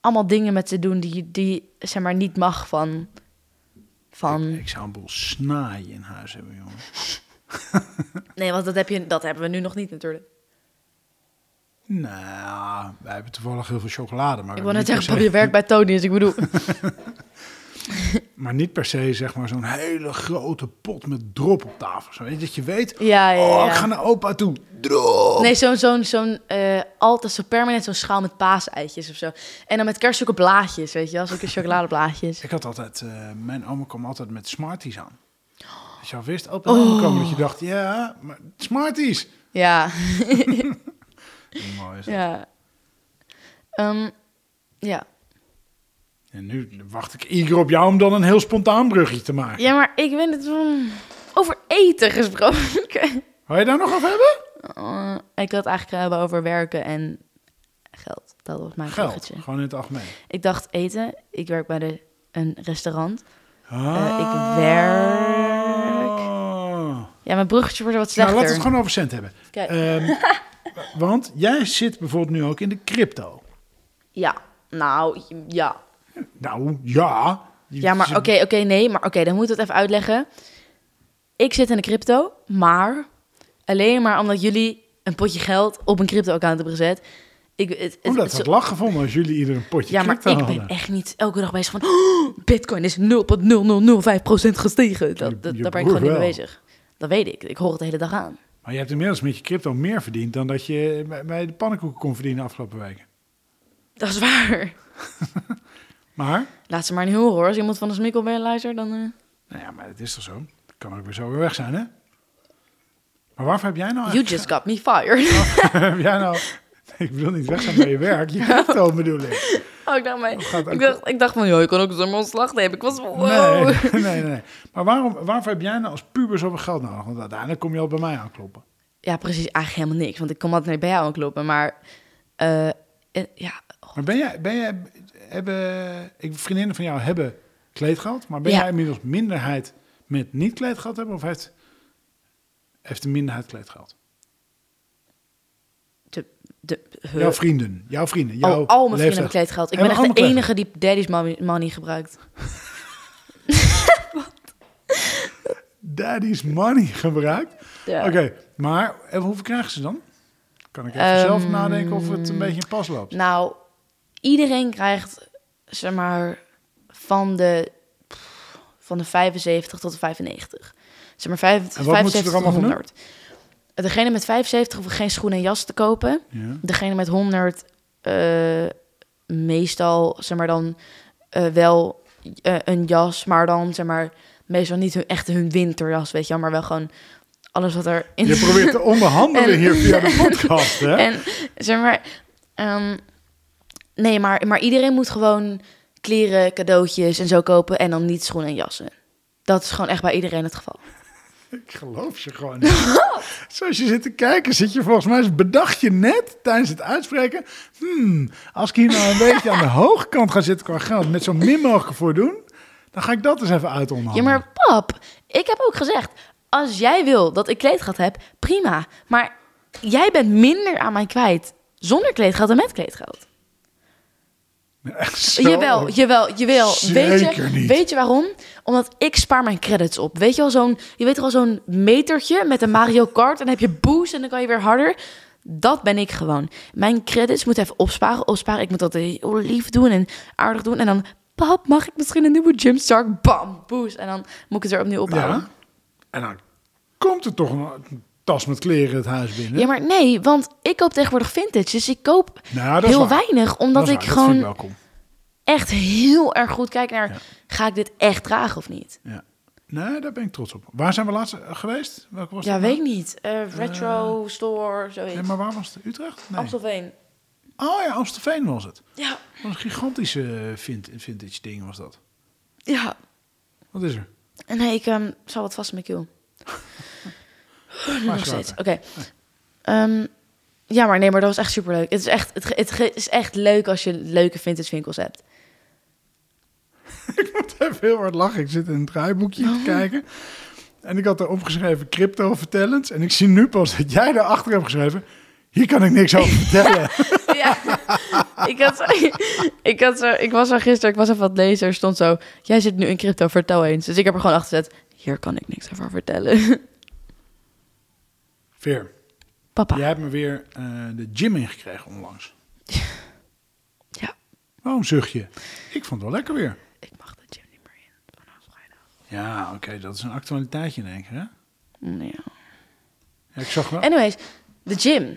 S1: allemaal dingen met ze doen die, die zeg maar, niet mag van...
S2: Ik,
S1: van...
S2: ik zou een boel snaaien in huis hebben, jongen.
S1: Nee, want dat, heb je, dat hebben we nu nog niet natuurlijk.
S2: Nou, wij hebben toevallig heel veel chocolade. Maar,
S1: Ik wil net
S2: niet per
S1: zeggen,
S2: se-
S1: je werkt bij Tony, dus ik bedoel...
S2: maar niet per se zeg maar zo'n hele grote pot met drop op tafel. Zo, weet je, dat je weet,
S1: Ja, ja, ja.
S2: oh, ik ga naar opa toe. Drop!
S1: Nee, zo'n, zo'n, zo'n, eh, altijd zo permanent zo'n schaal met paaseitjes of zo. En dan met kerst ook blaadjes, weet je wel, zulke chocoladeblaadjes.
S2: Ik had altijd, eh, mijn oma kwam altijd met Smarties aan. Als je al wist, opa
S1: Oh.
S2: en oma komen, dat je dacht, ja, maar Smarties.
S1: Ja,
S2: Mooi is dat.
S1: ja. Ehm, ja.
S2: En nu wacht ik ieder op jou om dan een heel spontaan brugje te maken.
S1: ja, maar ik weet het... mm, over eten gesproken.
S2: Wil je daar nog over hebben?
S1: Eh, ik wil het eigenlijk hebben over werken en geld. Dat was mijn
S2: Geld,
S1: bruggetje.
S2: gewoon in het algemeen.
S1: Ik dacht eten. Ik werk bij de, een restaurant.
S2: Ah.
S1: Eh, ik werk- Ja, mijn bruggetje wordt wat
S2: Nou,
S1: slechter.
S2: laten we Ah. Nou, het gewoon over cent hebben.
S1: Kijk.
S2: Ehm, want jij zit bijvoorbeeld nu ook in de crypto.
S1: Ja, nou, ja.
S2: Nou, ja. Je
S1: Ja, maar
S2: zit-
S1: oké, oké, nee. Maar oké, dan moeten we het even uitleggen. Ik zit in de crypto, maar alleen maar omdat jullie een potje geld op een crypto-account hebben gezet. Ik, het, het-
S2: Omdat
S1: het-
S2: we het lach gevonden als jullie ieder een potje
S1: ja, maar
S2: crypto
S1: ik ben
S2: hadden.
S1: echt niet elke dag bezig van... "Oh, Bitcoin is 0,0005% gestegen.
S2: Je-
S1: Dat, dat,
S2: je
S1: daar ben ik
S2: broer
S1: gewoon niet mee
S2: wel.
S1: bezig. Dat weet ik. Ik hoor het de hele dag aan.
S2: Maar je hebt inmiddels met je crypto meer verdiend dan dat je bij- bij de pannenkoeken kon verdienen afgelopen weken.
S1: Dat is waar.
S2: Maar,
S1: Laat ze maar niet horen hoor. Als iemand van de smikkel bij luistert, dan... eh,
S2: nou ja, maar het is toch zo. Kan ook weer zo weer weg zijn, hè? Maar waarvoor heb jij nou
S1: you
S2: eigenlijk...
S1: just got me fired.
S2: heb jij nou... Ik bedoel niet weg zijn bij je werk. Je crypto bedoel ik.
S1: Oh, ik dacht, mij-
S2: gaat ook-
S1: ik dacht, ik dacht van, joh, ik kan ook zo'n ontslag nemen. Ik was van, wow.
S2: Nee, nee, nee. Maar waarom, waarvoor heb jij nou als puber zoveel geld nodig? Want uiteindelijk kom je al bij mij aankloppen.
S1: Ja, precies. Eigenlijk helemaal niks. Want ik kom altijd naar bij jou aankloppen. Maar eh, eh, ja,
S2: Maar ben jij... Ben jij hebben, ik, vriendinnen van jou hebben kleedgeld. Maar ben
S1: Ja.
S2: jij inmiddels minderheid met niet kleedgeld hebben? Of heeft, heeft de minderheid kleedgeld?
S1: de, de, huh.
S2: Jouw vrienden. Jouw vrienden. Jouw
S1: Eh, al, al mijn vrienden hebben
S2: leeftijd.
S1: kleedgeld. Ik ben
S2: Hebben
S1: echt de
S2: allemaal
S1: enige die daddy's money, money gebruikt.
S2: Daddy's money gebruikt.
S1: Ja.
S2: Oké, maar eh, hoeveel krijgen ze dan? Kan ik even zelf
S1: Ehm,
S2: nadenken of het een beetje in pas loopt?
S1: Nou, iedereen krijgt, zeg maar, van de, pff, van de 75 tot de 95. Zeg maar, vijf-
S2: En wat moeten ze
S1: 75
S2: er allemaal
S1: tot
S2: van doen?
S1: 100. Degene met 75 hoeft geen schoenen en jas te kopen.
S2: Ja.
S1: Degene met 100 eh, meestal, zeg maar dan eh, wel eh, een jas, maar dan zeg maar meestal niet hun, echt hun winterjas, weet je, wel, maar wel gewoon alles wat er in
S2: Je probeert te onderhandelen
S1: En-
S2: hier via de podcast, hè?
S1: en zeg maar, ehm, nee, maar, maar iedereen moet gewoon kleren, cadeautjes en zo kopen en dan niet schoenen en jassen. Dat is gewoon echt bij iedereen het geval.
S2: Ik geloof je gewoon niet. Zoals je zit te kijken, zit je volgens mij, bedacht je net tijdens het uitspreken, hmm, als ik hier nou een beetje aan de hoge kant ga zitten qua geld, met zo min mogelijk voor doen, dan ga ik dat eens even uit
S1: Ja,
S2: onderhandelen.
S1: maar pap, ik heb ook gezegd, als jij wil dat ik kleedgat heb, prima. Maar jij bent minder aan mij kwijt zonder kleedgat dan met kleedgat.
S2: Echt zo.
S1: Jawel, jawel, jawel. weet,
S2: Zeker
S1: je,
S2: niet.
S1: weet je waarom? Omdat ik spaar mijn credits op. Weet je wel zo'n, je weet toch wel zo'n metertje met een Mario Kart. En dan heb je boost en dan kan je weer harder. Dat ben ik gewoon. Mijn credits moet even opsparen, opsparen. Ik moet dat heel lief doen en aardig doen. En dan, pap, mag ik misschien een nieuwe Gymshark? Bam, boost. En dan moet ik het weer opnieuw opbouwen.
S2: Ja. En dan komt er toch een tas met kleren het huis binnen.
S1: Ja, maar nee, want ik koop tegenwoordig vintage. Dus ik koop
S2: Nou, dat is
S1: heel
S2: waar.
S1: weinig. Omdat
S2: Dat is
S1: ik
S2: waar, dat vind
S1: gewoon
S2: ik welkom.
S1: echt heel erg goed kijk naar...
S2: Ja.
S1: ga ik dit echt dragen of niet?
S2: Ja. Nee, daar ben ik trots op. Waar zijn we laatst eh, geweest? Welke was
S1: Ja,
S2: dat
S1: weet
S2: nou?
S1: ik niet. Eh, retro, store, zoiets.
S2: Nee, maar waar was het? Utrecht? Nee.
S1: Amstelveen.
S2: Oh ja, Amstelveen was het.
S1: Ja,
S2: Dat was een gigantische eh, vind- vintage ding was dat.
S1: ja.
S2: Wat is er?
S1: En nee, ik ehm, zal wat vast in mijn keel. Nu nog steeds. Oké. Ehm, ja, maar nee, maar dat was echt superleuk. Het is echt, het, ge- het ge- is echt leuk als je leuke vintage winkels hebt. Oh.
S2: Ik moet even heel hard lachen. Ik zit in een draaiboekje te kijken. En ik had er opgeschreven crypto vertellend. En ik zie nu pas dat jij daarachter hebt geschreven. Hier kan ik niks over vertellen.
S1: Ja. ik, had, zo- ik, had zo, ik was er gisteren, ik was even aan het lezen. Er stond zo, jij zit nu in crypto, vertel eens. Dus ik heb er gewoon achter gezet, hier kan ik niks over vertellen.
S2: Veer,
S1: Papa.
S2: jij hebt me weer eh, de gym ingekregen onlangs.
S1: Ja.
S2: Waarom zucht je? Ik vond het wel lekker weer.
S1: Ik mag de gym niet meer in vanaf vrijdag.
S2: Ja, oké, dat is een actualiteitje denk ik, hè?
S1: Nee.
S2: Ja, ik zag wel.
S1: Anyways, de gym.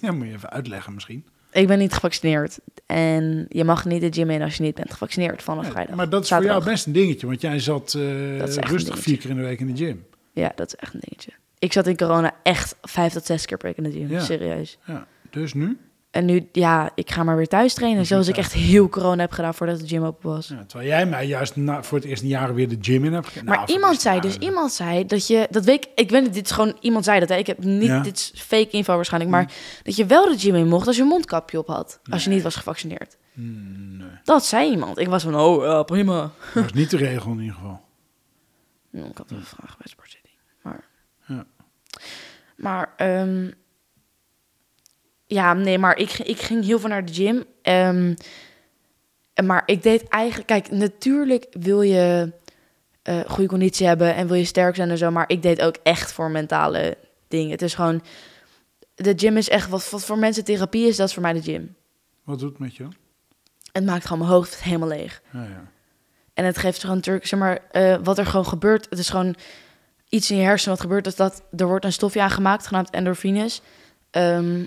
S2: Ja, moet je even uitleggen misschien.
S1: Ik ben niet gevaccineerd. En je mag niet de gym in als je niet bent gevaccineerd vanaf
S2: Ja,
S1: vrijdag.
S2: maar dat is
S1: Zaterdag.
S2: voor jou best een dingetje, want jij zat eh,
S1: Dat is echt een
S2: rustig vier
S1: dingetje.
S2: keer in de week in de gym.
S1: Ja, dat is echt een dingetje. Ik zat in corona echt vijf tot zes keer per week in de gym.
S2: Ja.
S1: Serieus.
S2: Ja, dus nu?
S1: En nu, ja, ik ga maar weer thuis trainen.
S2: Dus weer
S1: Zoals ik echt
S2: thuis.
S1: heel corona heb gedaan voordat de gym open was.
S2: Ja, terwijl jij mij juist na, voor het eerst in jaren weer de gym in hebt Nou, gekregen.
S1: maar iemand zei dus, iemand zei dat je, dat weet ik, ik weet niet, dit is gewoon, iemand zei dat, hè. ik heb niet,
S2: Ja. Hmm.
S1: dit is fake info waarschijnlijk, maar dat je wel de gym in mocht als je een mondkapje op had, als je niet was gevaccineerd.
S2: Hmm, nee,
S1: Dat zei iemand. Ik was van, oh, ja, prima.
S2: dat is niet de regel in ieder geval.
S1: Nou, ik had een vraag bij sportzitting. Maar,
S2: Ja.
S1: maar ehm, ja, nee, maar ik, ik ging heel veel naar de gym. ehm, maar ik deed eigenlijk, kijk, natuurlijk wil je eh, goede conditie hebben en wil je sterk zijn en zo. Maar ik deed ook echt voor mentale dingen. Het is gewoon, de gym is echt, wat, wat voor mensen therapie is, dat is voor mij de gym.
S2: Wat doet het met jou?
S1: Het maakt gewoon mijn hoofd helemaal leeg.
S2: Ja, ja.
S1: En het geeft gewoon natuurlijk, zeg maar, eh, wat er gewoon gebeurt. Het is gewoon iets in je hersenen wat gebeurt. dus Dat, dat er wordt een stofje aangemaakt, genaamd endorfines. Ehm,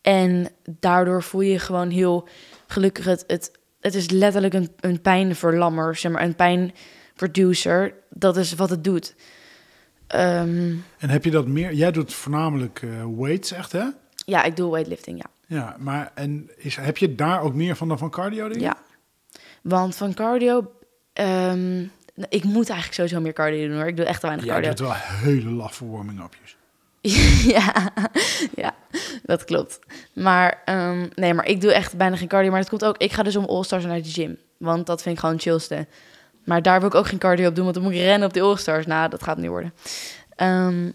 S1: en daardoor voel je je gewoon heel gelukkig. Het, het, het is letterlijk een, een pijnverlammer, zeg maar, een pijnproducer. Dat is wat het doet. Ehm,
S2: En heb je dat meer? Jij doet voornamelijk eh, weights, echt hè?
S1: ja, ik doe weightlifting, ja.
S2: Ja, maar en is, heb je daar ook meer van dan van cardio? Dingen?
S1: Ja. Want van cardio... ehm, ik moet eigenlijk sowieso meer cardio doen, hoor. Ik doe echt te weinig
S2: Jij
S1: cardio.
S2: doet wel hele laffe warming-upjes.
S1: ja, ja, dat klopt. Maar ehm, nee, maar ik doe echt bijna geen cardio. Maar dat komt ook. Ik ga dus om All Stars naar de gym, want dat vind ik gewoon het chillste. Maar daar wil ik ook geen cardio op doen, want dan moet ik rennen op de All Stars. Nou, dat gaat niet worden. Ehm,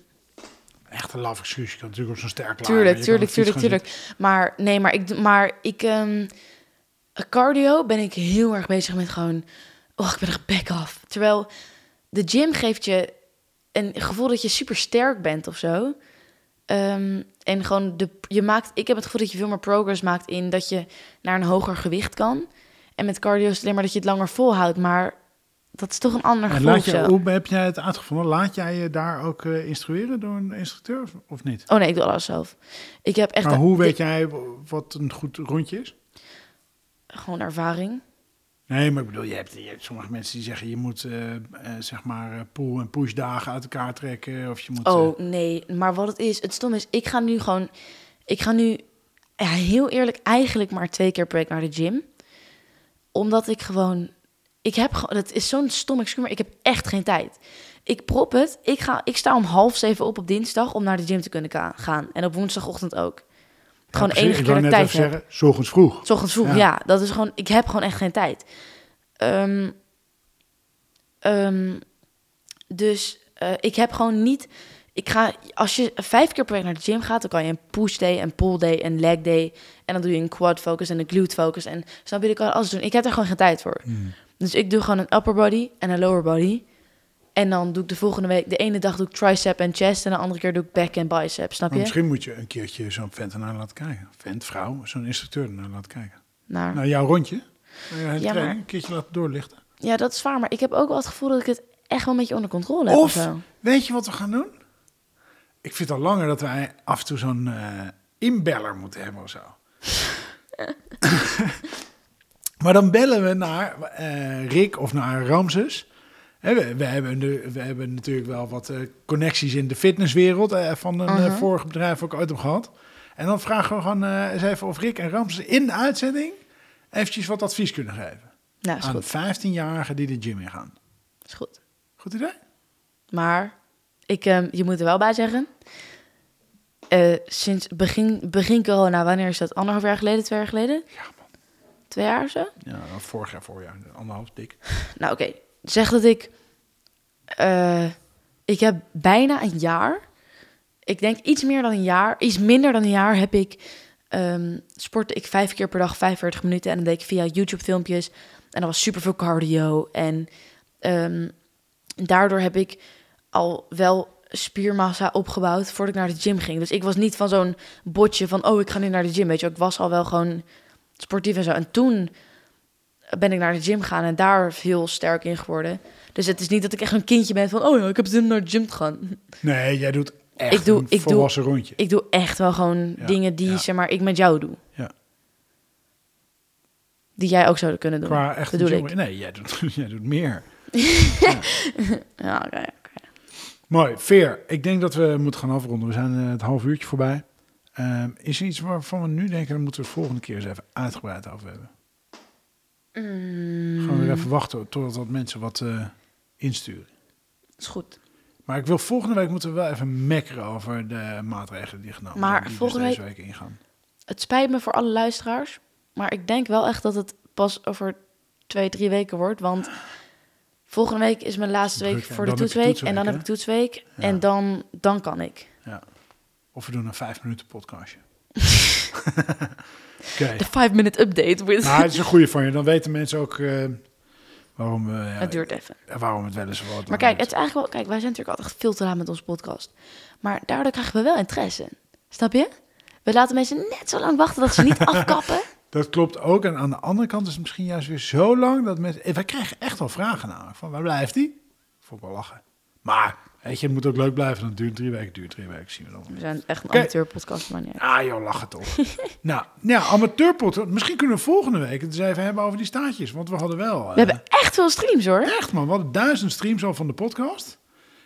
S2: Echt een laf excuus. Je kan natuurlijk op zo'n sterk laden,
S1: tuurlijk,
S2: je kan op
S1: tuurlijk,
S2: de fiets
S1: tuurlijk,
S2: gaan
S1: tuurlijk. Maar nee, maar ik, doe- maar ik ehm, cardio ben ik heel erg bezig met gewoon. Oh, ik ben echt back off. Terwijl de gym geeft je een gevoel dat je super sterk bent of zo. Ehm, en gewoon de, je maakt. Ik heb het gevoel dat je veel meer progress maakt in dat je naar een hoger gewicht kan. En met cardio is het alleen maar dat je het langer volhoudt. Maar dat is toch een ander
S2: zitten. En
S1: gevoel.
S2: laat
S1: of zo.
S2: je, hoe heb jij het uitgevonden? Laat jij je daar ook eh, instrueren door een instructeur of, of niet?
S1: Oh nee, ik doe alles zelf. Ik heb echt.
S2: maar
S1: een-
S2: hoe
S1: de-
S2: weet jij w- wat een goed rondje is?
S1: Gewoon ervaring.
S2: Nee, maar ik bedoel, je hebt, je hebt sommige mensen die zeggen... je moet eh, eh, zeg maar eh, pull- en push dagen uit elkaar trekken. Of je moet... eh,
S1: Oh nee, maar wat het is, het stom is, ik ga nu gewoon, ik ga nu ja, heel eerlijk eigenlijk maar twee keer per week naar de gym, omdat ik gewoon, ik heb gewoon, dat is zo'n stom excuus, maar ik heb echt geen tijd. Ik prop het, ik ga, ik sta om half zeven op op dinsdag om naar de gym te kunnen ka- gaan en op woensdagochtend ook.
S2: ja,
S1: Gewoon
S2: precies.
S1: enige
S2: Ik
S1: keer
S2: wou
S1: dat ik
S2: net
S1: tijd
S2: even
S1: heb.
S2: zeggen, 's ochtends vroeg.
S1: 's ochtends vroeg,
S2: Ja.
S1: ja. Dat is gewoon, ik heb gewoon echt geen tijd. Ehm, ehm, dus eh, ik heb gewoon niet... Ik ga, als je vijf keer per week naar de gym gaat, dan kan je een push day, een pull day, een leg day. En dan doe je een quad focus en een glute focus. En snap je, ik kan alles doen. Ik heb er gewoon geen tijd voor. Dus ik doe gewoon een upper body en een lower body. En dan doe ik de volgende week, de ene dag doe ik tricep en chest. En de andere keer doe ik back en bicep, snap
S2: Maar
S1: je?
S2: Oh, misschien moet je een keertje zo'n vent ernaar laten kijken. Vent, vrouw, zo'n instructeur ernaar laten kijken.
S1: Naar-
S2: Nou, jouw rondje. Nou, ja, het
S1: Ja,
S2: training,
S1: maar-
S2: een keertje laten doorlichten.
S1: Ja, dat is waar. Maar ik heb ook wel het gevoel dat ik het echt wel een beetje onder controle heb.
S2: Of-
S1: Of, zo.
S2: Weet je wat we gaan doen? Ik vind al langer dat wij af en toe zo'n eh, inbeller moeten hebben of zo. maar dan bellen we naar eh, Rick of naar Ramses. Hè, we, we, hebben nu- we hebben natuurlijk wel wat eh, connecties in de fitnesswereld eh, van een eh,
S1: Mhm.
S2: vorig bedrijf ook ooit op gehad. En dan vragen we gewoon eh, eens even of Rick en Ramses in de uitzending eventjes wat advies kunnen geven.
S1: Nou, is
S2: aan
S1: goed.
S2: 15-jarigen die de gym ingaan.
S1: Is goed.
S2: Goed idee?
S1: Maar ik, ehm, je moet er wel bij zeggen. eh, sinds begin, begin corona, wanneer is dat? Anderhalf jaar geleden, twee jaar geleden?
S2: Ja, man.
S1: Twee jaar of zo?
S2: Ja, vorig jaar, voorjaar. Anderhalf dik.
S1: Nou, oké. Zeg dat ik eh, ik heb bijna een jaar, ik denk iets meer dan een jaar, iets minder dan een jaar heb ik, ehm sportte ik vijf keer per dag 45 minuten en dat deed ik via YouTube filmpjes en dat was super veel cardio en ehm, daardoor heb ik al wel spiermassa opgebouwd voordat ik naar de gym ging. Dus ik was niet van zo'n botje van, oh, ik ga nu naar de gym, weet je. wel. Ik was al wel gewoon sportief en zo. En toen ben ik naar de gym gegaan en daar heel sterk in geworden. Dus het is niet dat ik echt een kindje ben van, oh ja, ik heb zin om naar de gym te gaan.
S2: Nee, jij doet echt
S1: Ik doe-
S2: een
S1: ik doe-
S2: volwassen rondje.
S1: Ik doe echt wel gewoon
S2: Ja,
S1: dingen die,
S2: ja.
S1: zeg maar, ik met jou doe.
S2: Ja.
S1: Die jij ook zou kunnen doen.
S2: Qua echt een
S1: bedoel
S2: jongen- Nee, jij doet, jij doet meer.
S1: Ja, oké, oké.
S2: Mooi. Veer, ik denk dat we moeten gaan afronden. We zijn eh, het half uurtje voorbij. Ehm, is er iets waarvan we nu denken, daar moeten we de volgende keer eens even uitgebreid over hebben?
S1: Mm,
S2: Gaan we weer even wachten totdat wat mensen wat eh, insturen.
S1: is goed.
S2: Maar ik wil volgende week moeten we wel even mekkeren over de maatregelen die genomen
S1: Maar
S2: zijn. die dus
S1: volgende
S2: deze week ingaan.
S1: Het spijt me voor alle luisteraars, maar ik denk wel echt dat het pas over twee, drie weken wordt. Want volgende week is mijn laatste week
S2: Druk, hè?
S1: voor de
S2: Dan heb je
S1: toetsweek,
S2: toetsweek,
S1: En dan
S2: hè?
S1: heb ik toetsweek.
S2: Ja.
S1: En dan, dan kan ik.
S2: Ja. Of we doen een vijf minuten podcastje. Oké.
S1: De 5-minute update. with-
S2: Maar Nou, het is een goede van je. Dan weten mensen ook eh, waarom, we, ja,
S1: het duurt even.
S2: waarom het wel eens wat.
S1: Maar kijk, het is eigenlijk wel. Kijk, wij zijn natuurlijk altijd veel te laat met onze podcast. Maar daardoor krijgen we wel interesse. Snap je? We laten mensen net zo lang wachten dat ze niet afkappen.
S2: Dat klopt ook. En aan de andere kant is het misschien juist weer zo lang dat mensen... eh, Wij krijgen echt wel vragen namelijk. Van waar blijft die? Vond ik wel lachen. Maar, weet je, het moet ook leuk blijven. Dan duurt drie weken, duurt drie weken. Zien we dan. wel.
S1: We zijn echt een
S2: Oké.
S1: amateurpodcast, maar niet uit.
S2: Ah joh, lachen toch. nou, ja, amateurpot. Misschien kunnen we volgende week het eens even hebben over die staartjes. Want we hadden wel... eh,
S1: We hebben echt veel streams hoor.
S2: Echt man, we hadden duizend streams al van de podcast.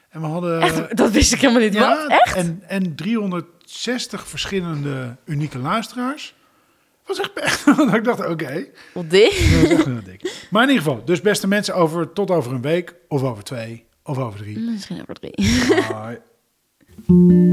S2: En we hadden...
S1: Echt, dat wist ik helemaal niet. Wat? Echt?
S2: En, en 360 verschillende unieke luisteraars. Was echt echt. dat ik dacht, oké.
S1: Wat dit?
S2: Dat was echt heel dik. Maar in ieder geval, dus beste mensen, over, tot over een week, of over twee, of over drie.
S1: Ah, Misschien over drie.
S2: Bye.